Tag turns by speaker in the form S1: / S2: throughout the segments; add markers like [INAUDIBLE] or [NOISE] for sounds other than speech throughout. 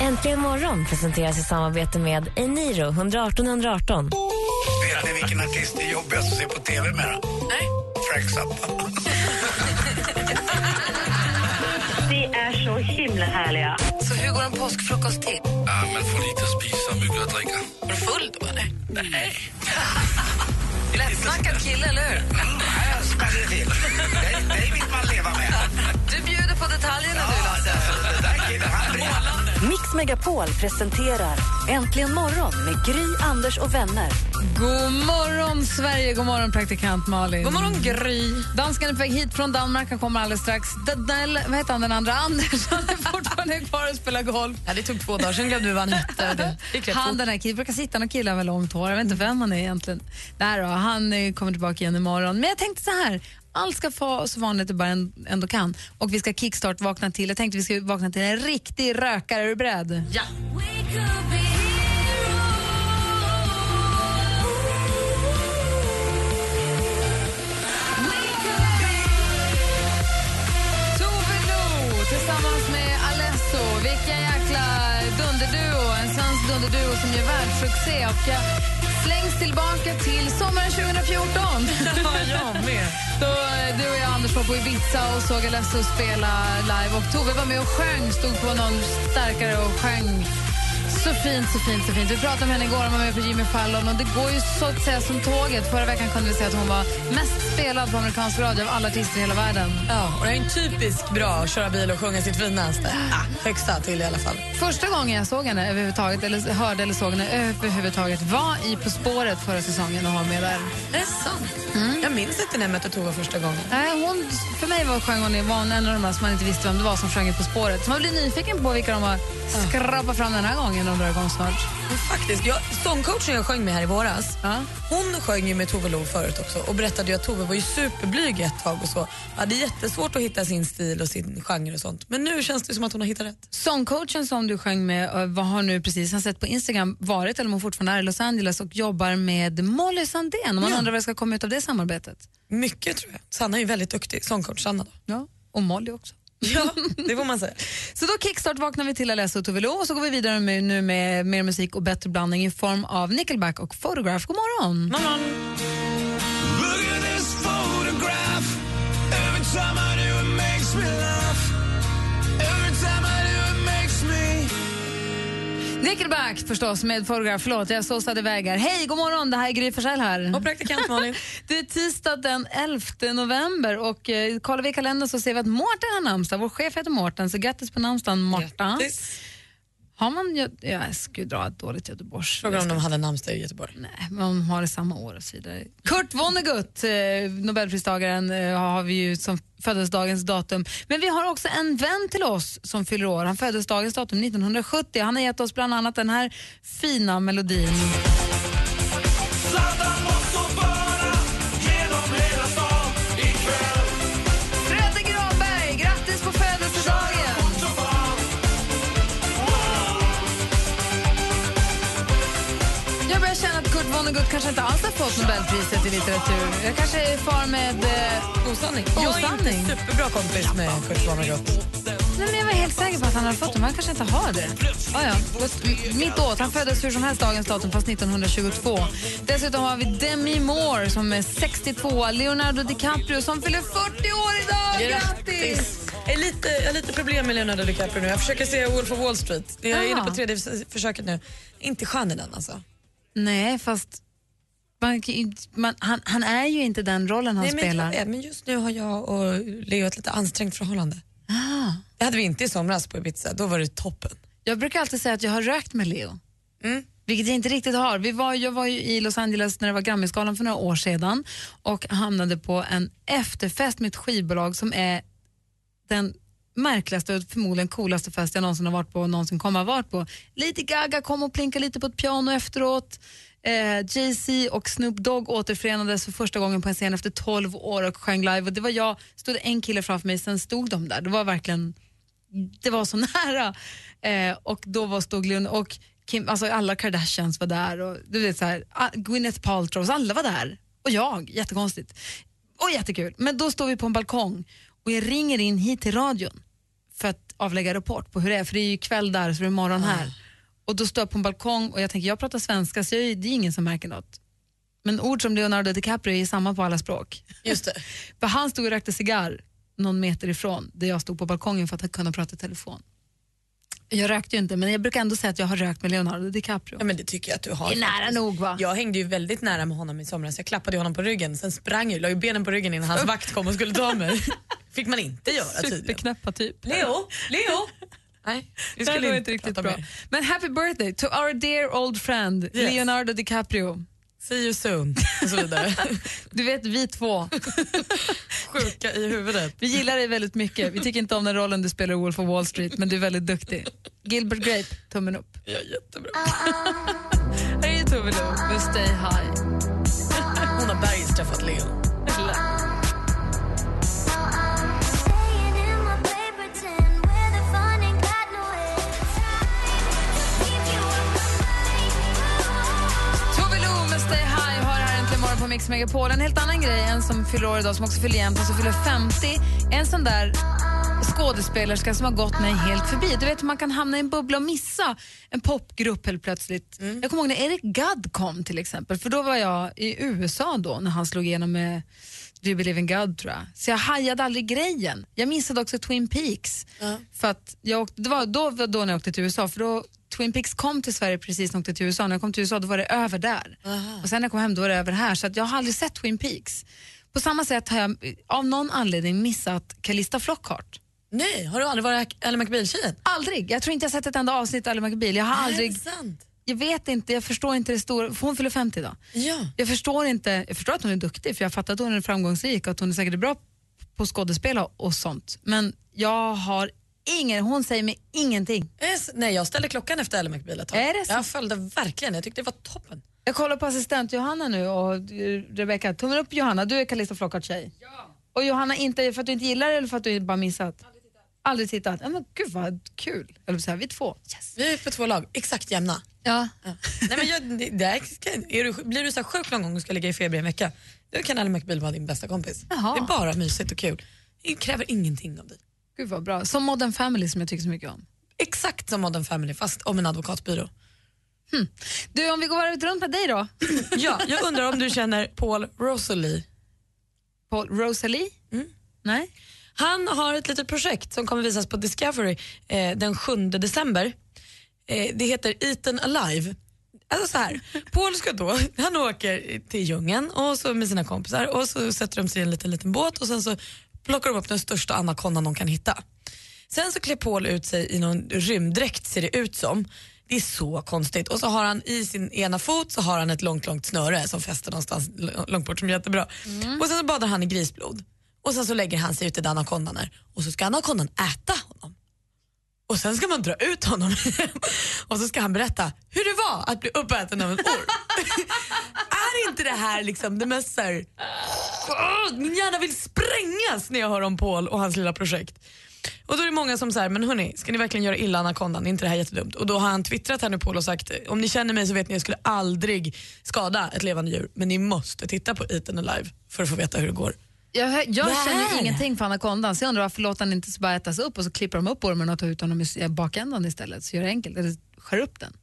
S1: Äntligen morgon presenteras i samarbete med Eniro 118 118.
S2: Vet ni vilken artist det är jobbigast att se på tv med? Nej. Frank Zappa.
S3: Ni är så himla härliga.
S4: Så hur går en påskfrukost till?
S2: Ja, men får lite att spisa, mycket att dricka.
S4: Var du full då, eller? Nej. [LAUGHS] Lättsnackad kille, eller hur?
S2: Mm, Jag smäller till. Dig, dig vill man leva med.
S4: Du bjuder på detaljerna, du, Lasse.
S2: Den där killen, han brinner.
S1: Mix Megapol presenterar Äntligen morgon med Gry, Anders och vänner.
S5: God morgon, Sverige! God morgon, praktikant Malin.
S4: God morgon, Gry.
S5: Dansken är på väg hit från Danmark. Han kommer alldeles strax. Dadnell, vad heter han den andra? Anders. Han är fortfarande kvar och spelar golf.
S4: Ja, det tog två dagar, sen glömde du vad han hette. Det gick rätt
S5: Han
S4: fort.
S5: den här killen, brukar sitta någon kille med långt hår. Jag vet inte vem han är egentligen. Där då, han eh, kommer tillbaka igen imorgon. Men jag tänkte så här, allt ska få så vanligt det bara en- ändå kan. Och vi ska kickstart vakna till. Jag tänkte vi ska vakna till en riktig rökare. Är du beredd?
S4: Ja.
S5: Tove Lo tillsammans med Alesso. Vilken jäkla dunderduo. En svensk dunderduo som gör världssuccé. Och jag slängs tillbaka till sommaren
S4: [LAUGHS]
S5: 2014.
S4: Jag med.
S5: Då eh, du och jag, Anders, var på Ibiza och såg Alesso spela live. Och Tove var med och sjöng, stod på någon starkare och sjöng. Så fint, så fint, så fint. Vi pratade med henne igår, hon var med på Jimmy Fallon och det går ju så att säga som tåget. Förra veckan kunde vi säga att hon var mest spelad på amerikansk radio av alla artister i hela världen.
S4: Ja, och det är en typisk bra att köra bil och sjunga sitt finaste. Ah, högsta till i alla fall.
S5: Första gången jag såg henne överhuvudtaget, eller hörde eller såg henne överhuvudtaget var i På spåret förra säsongen och har med där.
S4: Är det sant? Jag minns inte när jag mötte Tove första gången.
S5: Nej, hon, för mig var sjöng hon, var hon en av de här som man inte visste vem det var som sjöng i På spåret. Så man blir nyfiken på vilka de har skrapat fram den här gången om de drar igång snart.
S4: Men Faktiskt, jag, sångcoachen jag sjöng med här i våras,
S5: Ja.
S4: hon sjöng ju med Tove Lo förut också och berättade ju att Tove var ju superblyg ett tag och så. Hade jättesvårt att hitta sin stil och sin genre och sånt. Men nu känns det som att hon har hittat rätt.
S5: Sångcoachen som du sjöng med eh, vad har nu precis, han sett på Instagram, varit eller om hon fortfarande är i Los Angeles och jobbar med Molly Sandén. Och man
S4: Ja.
S5: undrar vad det ska komma ut av det samarbetet.
S4: Mycket tror jag. Sanna är ju väldigt duktig, sångcoach Sanna då.
S5: Ja. Och Molly också.
S4: Ja, [LAUGHS] det får man säga.
S5: Så då kickstart vaknar vi till Alessio och Tove Lo och så går vi vidare med, nu med mer musik och bättre blandning i form av Nickelback och Photograph. God morgon!
S2: Look at this photograph. Every time I do it makes me laugh. Every time I do it makes me...
S5: Nickelback förstås med Photograph. Förlåt, jag såsade vägar. Hej, god morgon! Det här är Gry Forssell här.
S4: Och praktikant Malin.
S5: Det är tisdag den 11 november och eh, kollar vi i kalendern så ser vi att Mårten har namnsdag. Vår chef heter Mårten, så grattis på namnsdagen Mårten.
S4: Grattis.
S5: Har man... gö- Ja, jag skulle dra ett dåligt Göteborgs...
S4: Frågan om de hade namnsdag i Göteborg.
S5: Nej, man har det samma år och så vidare. Kurt Vonnegut, eh, Nobelpristagaren, eh, har vi ju som födelsedagens datum. Men vi har också en vän till oss som fyller år. Han föddes dagens datum 1970. Han har gett oss bland annat den här fina melodin. Fredde Granberg, grattis på födelsedagen! Jag börjar känna att Kurt Vonnegut kanske inte alls har fått Nobelpriset i litteratur. Jag kanske är i far med... Eh,
S4: Osanning. Jag är
S5: Osanning.
S4: inte superbra kompis med Kurt Vonnegut.
S5: nej, men jag var helt säker på att han hade fått det, men han kanske inte har det. Ah, ja. Gott- Mitt åt. Han föddes hur som helst dagens datum, fast 1922. Dessutom har vi Demi Moore som är 62, Leonardo DiCaprio som fyller 40 år idag! Grattis!
S4: Jag, är lite, jag har lite problem med Leonardo DiCaprio nu. Jag försöker se Wolf of Wall Street. Jag är
S5: Ah.
S4: inne på tredje förs- försöket nu. Inte skön i den alltså.
S5: Nej, fast... Man, kan ju inte- man, han, han är ju inte den rollen han
S4: Nej, men,
S5: spelar.
S4: jag vet, men just nu har jag och Leo ett lite ansträngt förhållande.
S5: Ah.
S4: Det hade vi inte i somras på Ibiza, då var det toppen.
S5: Jag brukar alltid säga att jag har rökt med Leo. Vilket jag inte riktigt har. Vi var, jag var ju i Los Angeles när det var Grammyskalan för några år sedan och hamnade på en efterfest med ett skivbolag som är den märkligaste och förmodligen coolaste fest jag någonsin har varit på och någonsin kommer att ha varit på. Lite Gaga kom och plinkade lite på ett piano efteråt. Eh, Jay-Z och Snoop Dogg återförenades för första gången på en scen efter 12 år och sjöng live. Och det var jag, stod en kille framför mig, sen stod de där. Det var verkligen, det var så [LAUGHS] nära. Eh, och då var stod Leon och Kim, alltså alla Kardashians var där och du vet så här, ah, Gwyneth Paltrows, alla var där. Och jag, jättekonstigt. Och jättekul. Men då står vi på en balkong och jag ringer in hit till radion för att avlägga rapport på hur det är, för det är ju kväll där så det är morgon här. Och då står jag på en balkong och jag tänker, jag pratar svenska så jag, är- det är ingen som märker något. Men ord som Leonardo DiCaprio är ju samma på alla språk.
S4: Just det.
S5: För han stod och rökte cigarr någon meter ifrån där jag stod på balkongen för att kunna prata i telefon. Jag rökte ju inte men jag brukar ändå säga att jag har rökt med Leonardo DiCaprio.
S4: Ja, men det tycker jag att du har.
S5: Det är nära nog, va?
S4: Jag hängde ju väldigt nära med honom i somras. Jag klappade ju honom på ryggen, sen sprang jag, la ju benen på ryggen innan hans vakt kom och skulle
S5: [LAUGHS]
S4: ta mig. fick man inte göra tydligen.
S5: Superknäppa typ.
S4: Leo, Leo! Nej, vi
S5: Det
S4: skulle
S5: var
S4: inte
S5: inte riktigt
S4: prata
S5: bra.
S4: mer.
S5: Men happy birthday to our dear old friend Leonardo DiCaprio.
S4: See you soon och så vidare.
S5: Du vet vi två,
S4: [LAUGHS] Sjuka i huvudet.
S5: vi gillar dig väldigt mycket. Vi tycker inte om den rollen du spelar i Wolf of Wall Street men du är väldigt duktig. Gilbert Grape, tummen upp.
S4: Ja, jättebra.
S5: [LAUGHS] Här är Tove Lo med Stay High.
S4: Hon har bergis träffat Leo.
S5: Tove Lo med Stay High har här äntligen morgon på Mix Megapol. En helt annan grej, en som fyller år idag som också fyller jämnt, en som fyller 50. En sån där skådespelerska som har gått mig helt förbi. Du vet man kan hamna i en bubbla och missa en popgrupp helt plötsligt. Jag kommer ihåg när Eric Gadd kom till exempel, för då var jag i USA då när han slog igenom med Do you believe in God tror jag. Så jag hajade aldrig grejen. Jag missade också Twin Peaks. För att jag åkte, det var då, var då när jag åkte till USA, för då Twin Peaks kom till Sverige precis när jag åkte till USA. När jag kom till USA då var det över där. Och sen när jag kom hem då var det över här. Så att jag har aldrig sett Twin Peaks. På samma sätt har jag eh, av någon anledning missat Calista Flockhart.
S4: Nej, har du aldrig varit Ally McBeal-tjejen?
S5: Aldrig. Jag tror inte jag sett ett enda avsnitt av Ally McBeal. Jag har aldrig,
S4: sant.
S5: jag vet inte, jag förstår inte det stora, för hon fyller 50 idag.
S4: Ja.
S5: Jag förstår inte, jag förstår att hon är duktig för jag fattar att hon är framgångsrik och att hon är säkert bra på skådespel och- och sånt. Men jag har ingen, hon säger mig ingenting.
S4: Yes. Nej, jag ställde klockan efter Ally McBeal ett tag.
S5: Är det så?
S4: Jag följde verkligen, jag tyckte det var toppen.
S5: Jag kollar på assistent Johanna nu och eh, Rebecca, tummen upp Johanna, du är Calista Flockhart tjej. Ja. Och Johanna, inte för att du inte gillar det eller för att du bara missat? Aldrig tittat. Aldrig tittat. Ja, men gud vad kul. Eller så här, vi är två. Yes.
S4: Vi är på två lag, exakt jämna.
S5: Ja.
S4: Nej, men jag, det, det här, kan- är du, blir du så här sjuk någon gång och ska ligga i feber i en vecka, då kan Ally McBeal vara din bästa kompis.
S5: Jaha.
S4: Det är bara mysigt och kul. Det kräver ingenting av dig.
S5: Gud vad bra. Som Modern Family som jag tycker så mycket om.
S4: Exakt som Modern Family, fast om en advokatbyrå.
S5: Du, om vi går varvet runt med dig då.
S4: Ja, jag undrar om du känner Paul Rosalie?
S5: Paul Rosalie? Nej?
S4: Han har ett litet projekt som kommer visas på Discovery eh, den 7 december. Eh, det heter Eaten Alive. Alltså så här, Paul ska då, han åker till djungeln och så med sina kompisar och så sätter de sig i en liten, liten båt och sen så plockar de upp den största anakondan de kan hitta. Sen så klär Paul ut sig i någon rymddräkt ser det ut som. Det är så konstigt. Och så har han i sin ena fot så har han ett långt, långt snöre som fäster någonstans l- långt bort som är jättebra. Och sen så badar han i grisblod. Och sen så lägger han sig ute där anakondan är och så ska anakondan äta honom. Och sen ska man dra ut honom och så ska han berätta hur det var att bli uppäten av en orm. är inte det här liksom det mest så här, Åh, min hjärna vill sprängas när jag hör om Paul och hans lilla projekt. Och då är det många som säger, men hörni, ska ni verkligen göra illa anakondan? Är inte det här jättedumt? Och då har han twittrat här nu Paul och sagt, om ni känner mig så vet ni att jag skulle aldrig skada ett levande djur, men ni måste titta på Eaten Alive för att få veta hur det går.
S5: Jag,
S4: Det
S5: jag
S4: här.
S5: känner ingenting för anakondan, så jag undrar varför låter han inte så bara ätas upp och så klipper de upp ormen och tar ut honom i s- bakändan istället, så gör det enkelt, eller skär upp den.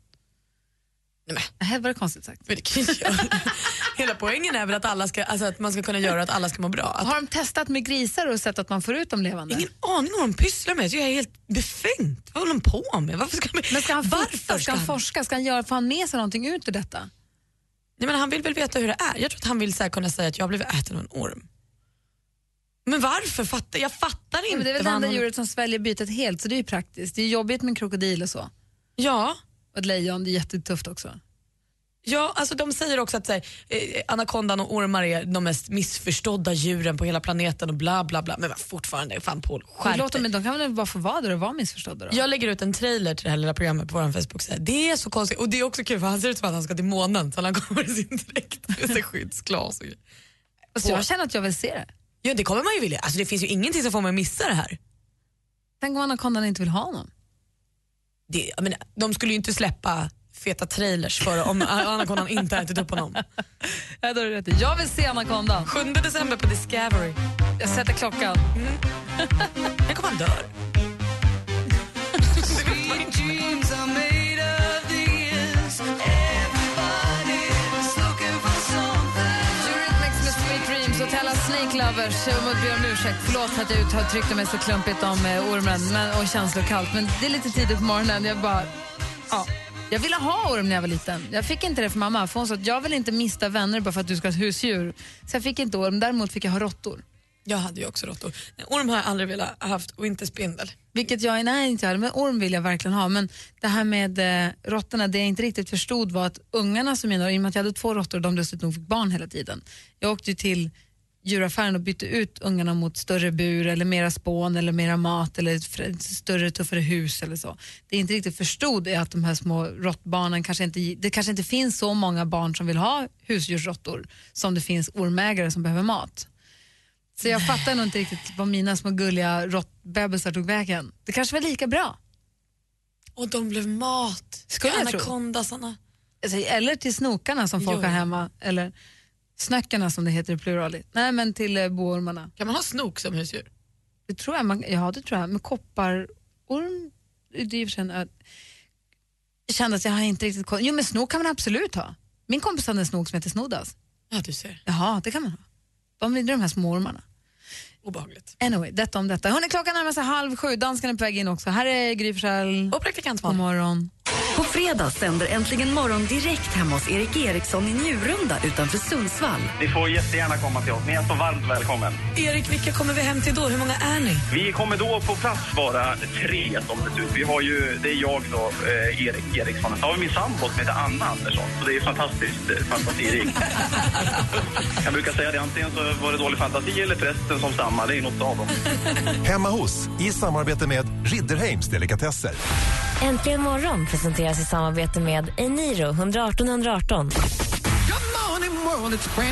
S4: Nej, men.
S5: Det här var det konstigt sagt.
S4: Men det kan ju göra. [LAUGHS] Hela poängen är väl att, alla ska, alltså att man ska kunna göra att alla ska må bra. Att,
S5: Har de testat med grisar och sett att man får ut dem levande?
S4: ingen aning om vad de pysslar med. Jag tycker det är helt befängt. Vad håller de på med? Varför ska, man,
S5: Men ska han
S4: varför
S5: forska, ska han forska, ska han göra, får han med sig någonting ut ur detta?
S4: Nej, men han vill väl veta hur det är. Jag tror att han vill så här kunna säga att jag blev äten av en orm. Men varför? Fattar, jag fattar inte.
S5: Men det är väl det
S4: vad
S5: enda
S4: han-
S5: djuret som sväljer bytet helt, så det är ju praktiskt. Det är jobbigt med en krokodil och så.
S4: Ja,
S5: Och ett lejon, det är jättetufft också.
S4: Ja, alltså de säger också att så här, eh, anakondan och ormar är de mest missförstådda djuren på hela planeten och bla bla bla. Men vad fortfarande, fan Paul,
S5: Men
S4: skärp
S5: Låt dem,
S4: dig.
S5: men de kan väl bara få vara där och vara missförstådda då?
S4: Jag lägger ut en trailer till det här lilla programmet på vår Facebook-sida. Det är så konstigt och det är också kul för han ser ut som att han ska till månen så han kommer i sin dräkt med sin skyddsglas. Och... grejer.
S5: Alltså, jag känner att jag vill se det.
S4: Ja, det kommer man ju vilja. Alltså det finns ju ingenting som får mig att missa det här.
S5: Tänk om anakondan inte vill ha honom.
S4: Det, jag menar, de skulle ju inte släppa feta trailers för [LAUGHS] om anakondan inte har ätit upp honom.
S5: Ja, då har du rätt i. Jag vill se anakondan.
S4: 7 december på Discovery.
S5: Jag sätter klockan.
S4: Här kommer han dör.
S5: Eurythmics med Sweet Dreams och Tella Snake Lovers. Jag måste be om ursäkt. Förlåt för att jag ut- har tryckt mig så klumpigt om eh, ormen men, och känslokallt. Men det är lite tidigt på morgonen. Jag bara... Ja. Jag ville ha orm när jag var liten. Jag fick inte det för mamma. För hon sa att jag vill inte mista vänner bara för att du ska ha ett husdjur. Så jag fick inte orm. Däremot fick jag ha råttor.
S4: Jag hade ju också råttor. Nej, Orm har jag aldrig velat ha haft och inte spindel.
S5: Vilket jag nej, inte hade, men orm vill jag verkligen ha. Men det här med eh, råttorna, det jag inte riktigt förstod var att ungarna som jag, i och med att jag hade två råttor och de dessutom fick barn hela tiden. Jag åkte ju till djuraffären och bytte ut ungarna mot större bur eller mera spån eller mera mat eller ett fr- större tuffare hus eller så. Det jag inte riktigt förstod är att de här små råttbarnen kanske inte, det kanske inte finns så många barn som vill ha husdjursråttor som det finns ormägare som behöver mat. Så jag fattar nog inte riktigt vad mina små gulliga råttbebisar tog vägen. Det kanske var lika bra.
S4: Och de blev mat.
S5: Skulle jag tro.
S4: Anakondasarna.
S5: Alltså, eller till snokarna som folk
S4: Jo.
S5: har hemma. Eller snöckarna som det heter i plural. Nej, men till eh, boormarna.
S4: Kan man ha snok som husdjur?
S5: Det tror jag man, ja, det tror jag. Men kopparorm, det är i och för sig en ö- Jag kände att jag har inte riktigt koll. Jo, men snok kan man absolut ha. Min kompis hade en snok som heter Snodas.
S4: Ja, du ser.
S5: Jaha, det kan man ha. De är de här små ormarna.
S4: Obehagligt.
S5: Anyway, detta om detta. Hörrni, klockan närmar sig halv sju. Danskarna är på väg in också. Här är Gry Forssell.
S4: Och praktikant
S5: God
S4: Malin.
S5: morgon.
S6: På fredag sänder Äntligen morgon direkt hemma hos Erik Eriksson i Njurunda utanför Sundsvall.
S7: Ni får jättegärna komma till oss. Ni är så varmt välkommen.
S4: Erik, vilka kommer vi hem till då? Hur många är ni?
S7: Vi kommer då på plats vara tre som det ser ut. Vi har ju, det är jag då, eh, Erik Eriksson. Så har vi min sambo som heter Anna Andersson. Så det är ju fantastiskt eh, fantasirikt. jag brukar säga det, antingen så var det dålig fantasi eller prästen som stammade. Det är något av dem.
S8: Hemma hos, i samarbete med Ridderheims Delikatesser.
S1: Äntligen morgon presenteras i samarbete med Eniro 118 118.
S2: Nu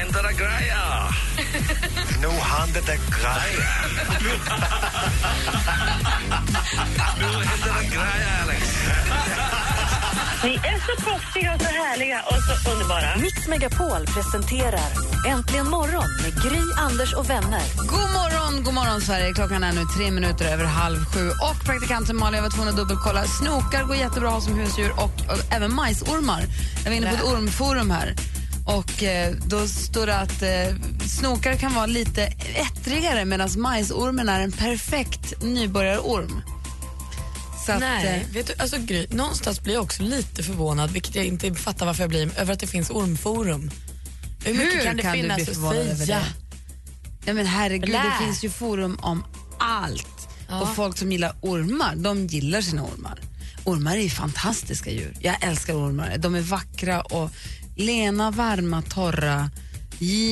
S2: händer det [LAUGHS] grejer!
S8: Nu handlar det grejer.
S2: Nu händer det grejer, Alex!
S3: Ni är så proffsiga och så härliga och så underbara.
S6: Mix Megapol presenterar Äntligen morgon med Gry, Anders och vänner.
S5: God morgon, god morgon Sverige. Klockan är nu tre minuter över halv sju. Och praktikanten Malin jag var tvungen att dubbelkolla. Snokar går jättebra att ha som husdjur och, och även majsormar. Jag var inne på ett ormforum här. Och eh, då står det att eh, snokar kan vara lite ettrigare medan majsormen är en perfekt nybörjarorm. Så att,
S4: Nej,
S5: eh,
S4: vet du, alltså Gry, någonstans blir jag också lite förvånad, vilket jag inte fattar varför jag blir, över att det finns ormforum. Hur mycket
S5: Hur
S4: kan det
S5: kan du
S4: finnas
S5: bli förvånad
S4: att
S5: över
S4: säga?
S5: det? Ja, men herregud,
S4: Lä.
S5: det finns ju forum om allt. Och folk som gillar ormar, de gillar sina ormar. Ormar är ju fantastiska djur. Jag älskar ormar. De är vackra och lena, varma, torra.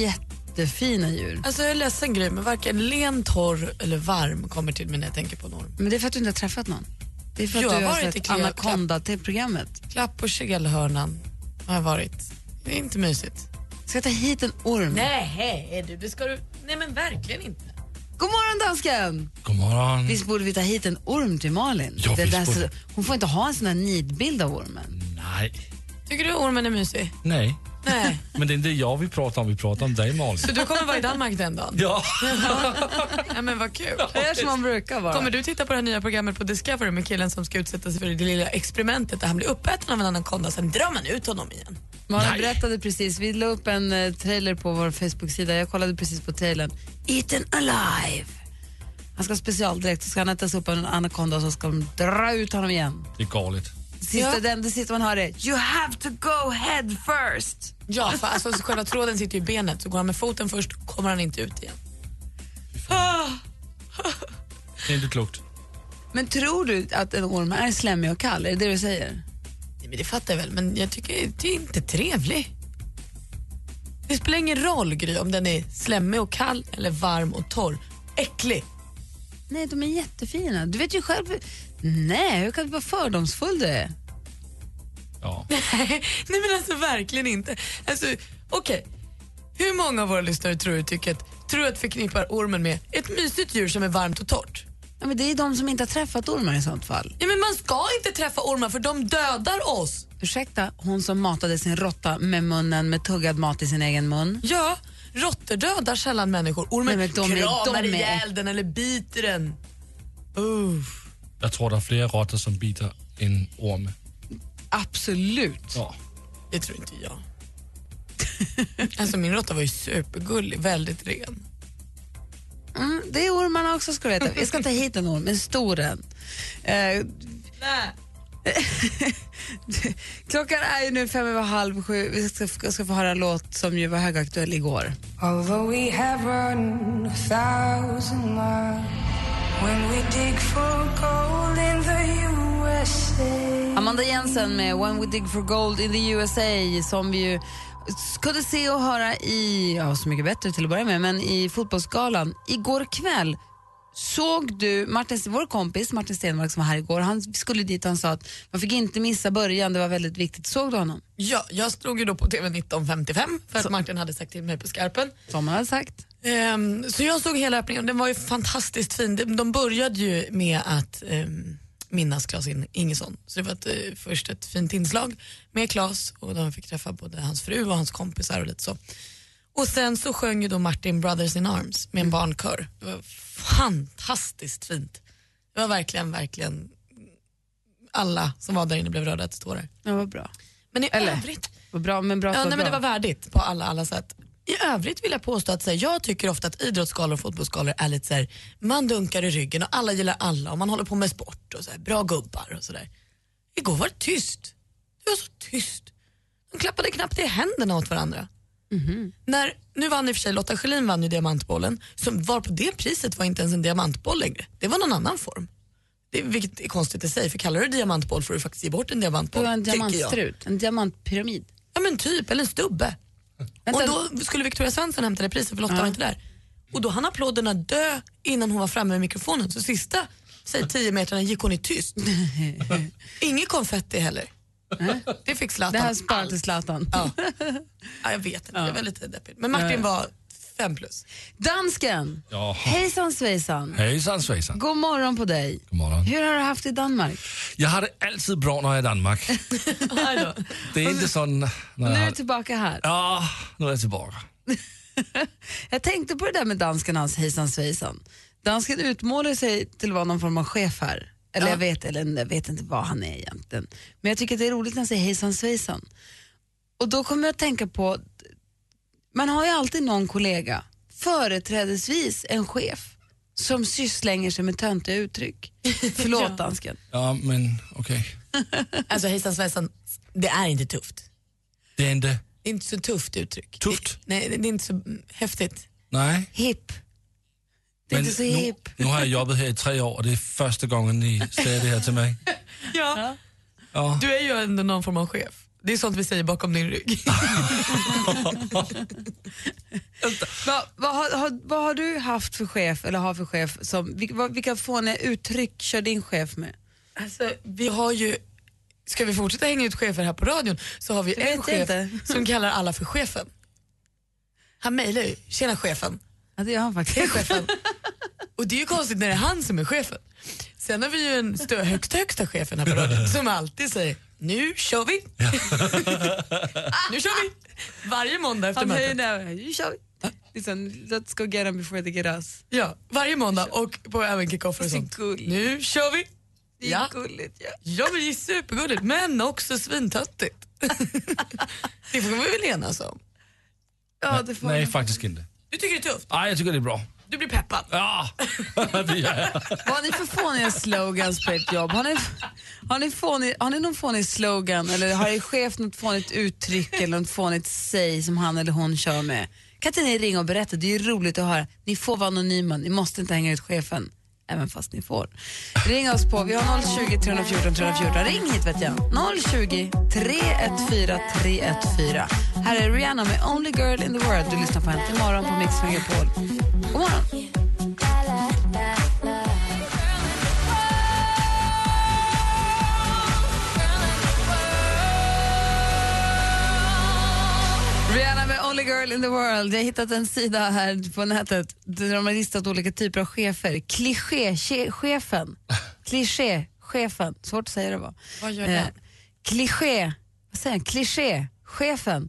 S5: Jättefina djur.
S4: Alltså jag är ledsen Gry, men varken len, torr eller varm kommer till mig när jag tänker på en orm.
S5: Men det är för att du inte har träffat någon. Det är för att
S4: Jag
S5: du
S4: har
S5: har
S4: varit i
S5: sett
S4: Cleo-
S5: Anaconda till programmet.
S4: Klapp och kelhörnan har jag varit. Det är inte mysigt.
S5: Ska jag ta hit en orm?
S4: Nej, du, det ska du... Nej men verkligen inte.
S5: God morgon dansken!
S7: God morgon.
S5: Visst borde vi ta hit en orm till Malin?
S7: Ja,
S5: det
S7: visst
S5: där,
S7: borde-
S5: så- hon får inte ha en sån här nidbild av ormen.
S7: Nej.
S4: Tycker du ormen är mysig?
S7: Nej.
S4: Nej.
S7: Men det är inte jag vi pratar om. Vi pratar om dig, Malin.
S4: Så du kommer vara i Danmark den dagen?
S7: Ja.
S4: Nej men vad kul.
S5: Det är som man brukar vara.
S4: Kommer du titta på det här nya programmet på Discovery med killen som ska utsätta sig för det lilla experimentet där han blir uppäten av en anakonda, sen drar man ut honom igen.
S5: Malin
S7: Nej.
S5: berättade precis, vi la upp en eh, trailer på vår Facebook-sida. Jag kollade precis på trailern. Eaten alive! Han ska ha specialdräkt, så ska han ätas upp av en anakonda och så ska de dra ut honom igen.
S7: Det är galet.
S5: Sista,
S4: Ja.
S5: den, det sista man hör är You have to go head first!
S4: Ja, för alltså, så själva tråden sitter ju i benet, så går han med foten först kommer han inte ut igen.
S7: Det är inte klokt.
S5: Men tror du att en orm är slemmig och kall? Är det det du säger?
S4: Men men det fattar jag väl, men jag tycker det är inte trevlig. Det spelar ingen roll Gry om den är slemmig och kall eller varm och torr. Äcklig.
S5: Nej, de är jättefina. Du vet ju själv... Nej, hur kan du vara fördomsfull du är?
S4: [LAUGHS] Nej, men alltså verkligen inte. Alltså, okej. Hur många av våra lyssnare tror du tycker att, tror att förknippar ormen med ett mysigt djur som är varmt och torrt?
S5: Ja, men det är de som inte har träffat ormar i sånt fall.
S4: Ja, men man ska inte träffa ormar för de dödar oss.
S5: Ursäkta, hon som matade sin råtta med munnen med tuggad mat i sin egen mun.
S4: Ja, råttor dödar sällan människor. Ormen
S5: Nej, men de är-
S4: kramar
S5: de är-
S4: ihjäl den eller biter den. Uh.
S9: Jeg tror, der er flere rotter, som biter end orme.
S5: Absolut.
S9: Ja.
S4: Det tror inte jag.
S5: [LAUGHS]
S4: alltså min råtta var ju supergullig, väldigt ren.
S5: Mm, det är ormarna också ska du veta. Jag ska ta hit en orm, en stor en. Eh, [LAUGHS] Klockan är ju nu fem över halv sju. Vi ska, jag ska få höra en låt som ju var högaktuell igår.
S1: Although we have run a thousand miles when we dig for gold in the USA.
S5: Amanda Jensen med When We Dig For Gold in the USA som vi ju kunde se och höra i, ja Så mycket bättre till att börja med, men i Fotbollsgalan igår kväll Såg du, Martin, vår kompis Martin Stenmark som var här igår, han skulle dit och han sa att man fick inte missa början, det var väldigt viktigt. Såg du honom?
S4: Ja, jag slog ju då på TV 1955 för att Martin hade sagt till mig på skarpen.
S5: Som han hade sagt.
S4: Ehm, så jag såg hela öppningen, den var ju fantastiskt fin. De, de började ju med att ehm, minnas Claes In- Ingesson. Så det var ett, eh, först ett fint inslag med Claes och de fick träffa både hans fru och hans kompisar och lite så. Och sen så sjöng ju då Martin Brothers in Arms med en barnkör. Det var fantastiskt fint. Det var verkligen, verkligen alla som var där inne blev rörda till tårar.
S5: Ja, vad bra.
S4: Men i Eller, övrigt...
S5: Vad bra, men bra att
S4: Ja,
S5: vara
S4: nej, men
S5: Alltså, bra.
S4: det var värdigt på alla, alla sätt. I övrigt vill jag påstå att så här, jag tycker ofta att idrottsskalor och fotbollsskalor är lite så här, man dunkar i ryggen och alla gillar alla och man håller på med sport och så här, bra gubbar och sådär. Igår var det tyst. Det var så tyst. De klappade knappt i händerna åt varandra.
S5: Mhm.
S4: När, nu vann i och för sig Lotta Schelin vann ju diamantbollen, som var på det priset var inte ens en diamantboll längre. Det var någon annan form. Det, vilket är konstigt i sig, för kallar du det diamantboll får du faktiskt ge bort en
S5: Det
S4: diamantboll.
S5: var en
S4: tycker jag.
S5: diamantstrut, en diamantpyramid.
S4: Ja men typ, eller en stubbe. Och då skulle Victoria Svensson hämta det priset för Lotta var inte där. Och då hann applåderna dö innan hon var framme med mikrofonen. Så sista, säg 10 metrarna gick hon i [LAUGHS] tyst. Inget konfetti heller. Det fick Zlatan.
S5: Det här sparar till Zlatan.
S4: Ja. ja, jag vet inte, det var lite deppigt. Men Martin
S5: Ja.
S4: var fem plus.
S5: Dansken!
S9: Ja.
S5: Hejsan svejsan!
S9: Hejsan svejsan.
S5: God morgon på dig. God
S9: morgon.
S5: Hur har du haft det i Danmark?
S9: Jeg har det altid bra, når jeg er i
S5: [LAUGHS]
S9: Danmark. Det er ikke sådan, når
S5: Nu
S9: jeg
S5: är
S9: har...
S5: du tillbaka här.
S9: Ja, nu er jeg tilbage.
S5: [LAUGHS] Jag tänkte på det där med dansken hans hejsan svejsan. Dansken utmålar sig till att vara någon form av chef här. Eller jag vet, eller jag vet inte vad han är egentligen. Men jag tycker att det är roligt när han säger hejsan svejsan. Och då kommer jag att tänka på, man har ju alltid någon kollega, företrädesvis en chef, som sysslänger sig med töntiga uttryck. Förlåt dansken.
S9: Ja, men okay.
S4: Alltså hejsan svejsan, det är inte tufft.
S9: Det er ikke...
S4: Det är inte så tufft uttryck.
S9: Tufft?
S4: Nej, det är inte så mm, häftigt.
S9: Nej.
S5: Hipp.
S4: Det är
S9: Men
S4: inte så
S9: nu,
S4: hip.
S9: nu har jeg jobbet her i tre år, og det er første gangen, I sagde det her til mig.
S4: Ja.
S9: Ja.
S4: Du är ju ändå någon form av chef. Det är sånt vi säger bakom din rygg.
S5: Vad vad har, har, vad har du haft för chef, eller har för chef, som, vilka, vad- vilka fåniga uttryck kör din chef med?
S4: Alltså, vi har ju... Ska vi fortsätta hänga ut chefer här på radion så har vi
S5: Det vet
S4: en
S5: jag
S4: chef
S5: inte.
S4: som kallar alla för chefen. Han mejlar ju, tjena chefen.
S5: Ja, det gör han faktiskt. [LAUGHS]
S4: Hej chefen. Och det är ju konstigt när det är han som är chefen. Sen har vi ju en stö- högsta högsta chefen här på radion som alltid säger, nu kör vi. [LAUGHS] nu kör vi. Varje måndag efter
S5: Han höjer
S4: mötet.
S5: näven. Nu kör vi. Liksom, let's go get 'em before they get us.
S4: Ja, varje måndag och på även kickoffer och
S5: Så
S4: sånt. Nu kör vi! Det är ja.
S5: gulligt. Ja.
S4: ja, men det är supergulligt, men också [LAUGHS] svintöntigt. det får vi väl enas om?
S5: Ja,
S9: Nej, faktisk ikke.
S4: Du tycker det är tufft?
S9: Ej, jeg tycker det er bra.
S4: Du blir peppad?
S9: Ja, det gør jeg.
S5: Vad har ni för fåniga slogans på ert jobb? Har ni, har, ni fånig, har ni någon fånig slogan eller har er chef något fånigt uttryck eller något fånigt säg som han eller hon kör med? Kan inte ni ringa och berätta? Det är ju roligt att höra. Ni får vara anonyma, ni måste inte hänga ut chefen. även fast ni får. Ring oss på, vi har 020 314 314. Ring hit vet jag. 020 314 314. Här är Rihanna med Only Girl in the World. Du lyssnar på henne imorgon på Mix Megapol. God morgon. Rihanna med Only Girl in the World. Jag har hittat en sida här på nätet där de har listat olika typer av chefer. Kliché-chefen. Kliché-chefen. Svårt att säga det va?
S10: Vad gör den?
S5: kliché, vad säger han? Kliché-chefen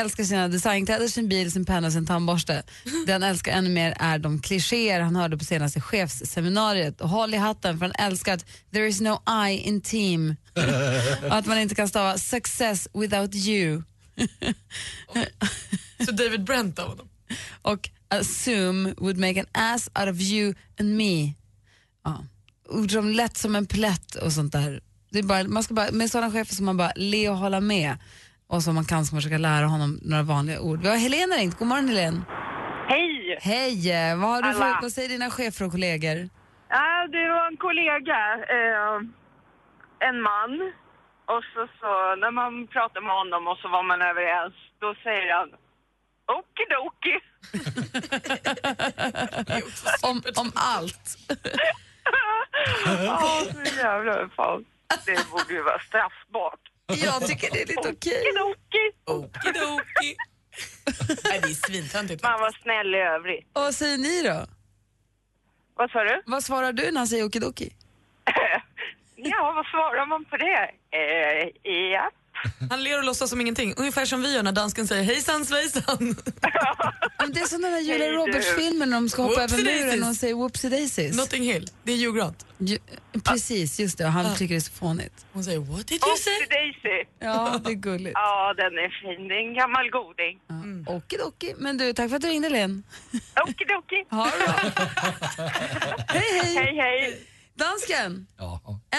S5: älskar sina designkläder, sin bil, sin penna och
S10: [LAUGHS]
S5: sin tandborste. Den älskar ännu mer är de klichéer han hörde på senaste chefsseminariet. Och håll i hatten för han älskar att there is no I in
S10: [LAUGHS]
S5: team. Och att man inte kan stava success without you. [LAUGHS]
S10: Så David Brent av honom?
S5: Och assume would make an ass out of you and me. Ja. Ord som lätt som en plätt och sånt där. Det är bara, man ska bara, med sådana chefer som man bara le och hålla med och som man kan ska man försöka lära honom några vanliga ord. Vi har Helena ringt. God morgon Helene.
S9: Hej!
S5: Hej! eh, Vad, har du
S9: Hallå.
S5: för, vad säger dina chefer och kollegor?
S9: Ja, det var en kollega, eh, en man. Och så, så när man pratade med honom och så var man överens, då säger han okidoki.
S5: om, om allt.
S9: Ja, så jävla fan. Det borde ju vara straffbart.
S5: Jag tycker det
S10: [LAUGHS]
S5: är lite okej.
S9: Okidoki.
S4: Oh.
S10: Okidoki. Nej, det är svintöntigt.
S9: Man var snäll i övrigt.
S5: Och vad säger ni då?
S9: Vad sa du?
S5: Vad svarar du när han säger okidoki?
S9: [LAUGHS] Ja, vad svarar man på det? Eh, ja.
S10: Han ler och låtsas som ingenting. Ungefär som vi gör när dansken säger hejsan svejsan. [LAUGHS]
S5: Men det är som den där
S10: Hej,
S5: Julia
S10: du.
S5: Roberts-filmen när de ska hoppa över
S10: Whoopsie
S5: muren
S10: daisies.
S5: och säger whoopsie daisies.
S10: Notting Hill. Det är Hugh Grant.
S5: Ju- Precis, just det. Och han
S10: Ja.
S5: tycker det är så fånigt.
S10: Hon säger what did you say?
S9: Oopsie Daisy.
S5: Ja, det är gulligt. Mm.
S9: Ja, den är fin. Det är en gammal goding.
S5: Okidoki. Men du, tack för att du ringde, Len.
S9: Okidoki.
S5: Ha det bra. [LAUGHS] Hej, hej.
S9: Hej, hej.
S5: Dansken,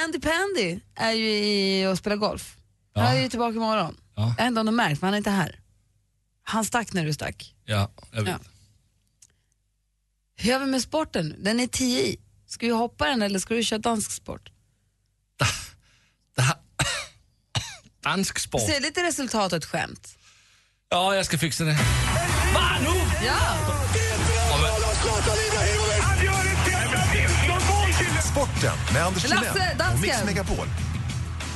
S5: Andy Pandy är ju i och spelar golf.
S4: Ja.
S5: Han är ju tillbaka imorgon.
S4: Ja.
S5: Jag vet inte om du märkt, men han är inte här. Han stack när du stack.
S4: Ja, jag vet.
S5: Hur gör vi med sporten? Den är 10 i. Ska vi hoppa den eller ska du köra dansk sport?
S4: Dansk sport.
S5: Se lite resultatet skämt.
S4: Ja, jag ska fixa det. Va, nu?
S5: Ja!
S2: Sporten med Anders
S5: Lasse,
S2: Timell och
S5: dansken.
S2: Mix Megapol.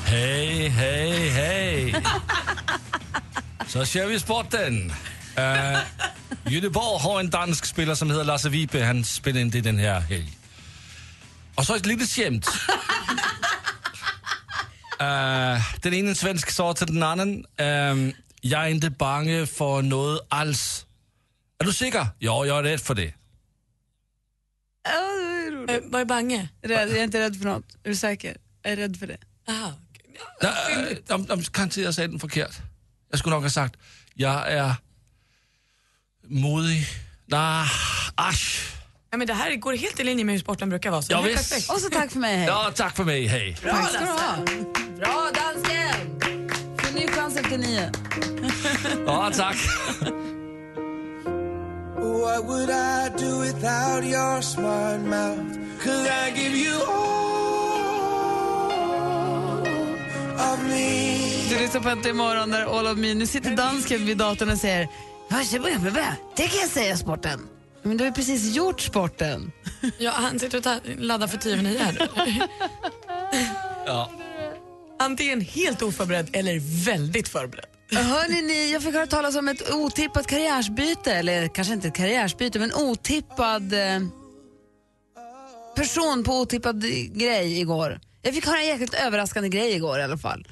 S4: Hej, hej, hej. Så kör vi sporten. Uh, Göteborg har en dansk spelare som heter Lasse Vibe. Han spelar inte den här helg. Och så ett litet skämt. Eh, den ene svensk sa till den anden, ehm, jag är inte bange för något alls. Är du säker? Ja, jag är rädd för det.
S5: Ja, det var ju roligt.
S10: Vad är bange?
S5: Rädd, jag är inte rädd för något. Är du säker? Jag är rädd för det.
S10: Aha.
S4: Nej, øh, om, om, kanske jag sa den forkert. Jag skulle nog ha sagt, jag är modig. Nej, asch.
S10: Ja, men det här går helt i linje med hur sporten brukar vara. Så
S4: Ja,
S10: det här är
S4: visst.
S10: perfekt.
S5: Och så tack för mig, hej.
S4: Ja, tack för mig, hej.
S5: Bra, Tack ska du ha. Bra, dansken! Får ny chans efter nio.
S4: Ja, tack.
S11: What would I do without your smart mouth? Could I give you all of me?
S5: Du lyssnar på Äntligen morgon där All of Me. Nu sitter dansken vid datorn och säger Varsågod, det kan jag säga sporten. Men du har ju precis gjort sporten.
S10: Ja, han sitter och tar- laddar för 10 över nio här nu.
S4: Ja.
S10: Antingen helt oförberedd eller väldigt förberedd.
S5: Hörrni, ni, jag fick höra talas om ett otippat karriärsbyte, eller kanske inte ett karriärsbyte, men otippad eh, person på otippad grej igår. Jag fick höra en jäkligt överraskande grej igår i alla fall.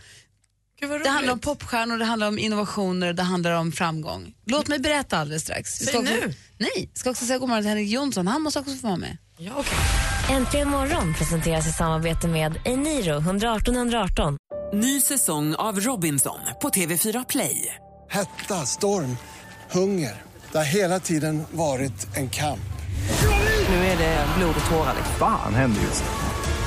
S5: Det handlar om popstjärnor, det handlar om innovationer, det handlar om framgång. Låt mig berätta alldeles strax. Vi
S1: Säg
S5: ska också,
S1: nu.
S5: Nej, ska också säga god morgon till Henrik Jonsson, han måste också få vara med.
S10: Ja, okay.
S1: Äntligen morgon presenteras i samarbete med Eniro 118 118.
S12: Ny säsong av Robinson på TV4 Play.
S13: Hetta, storm, hunger. Det har hela tiden varit en kamp.
S12: Nu är det blod och tårar.
S7: Fan händer just det.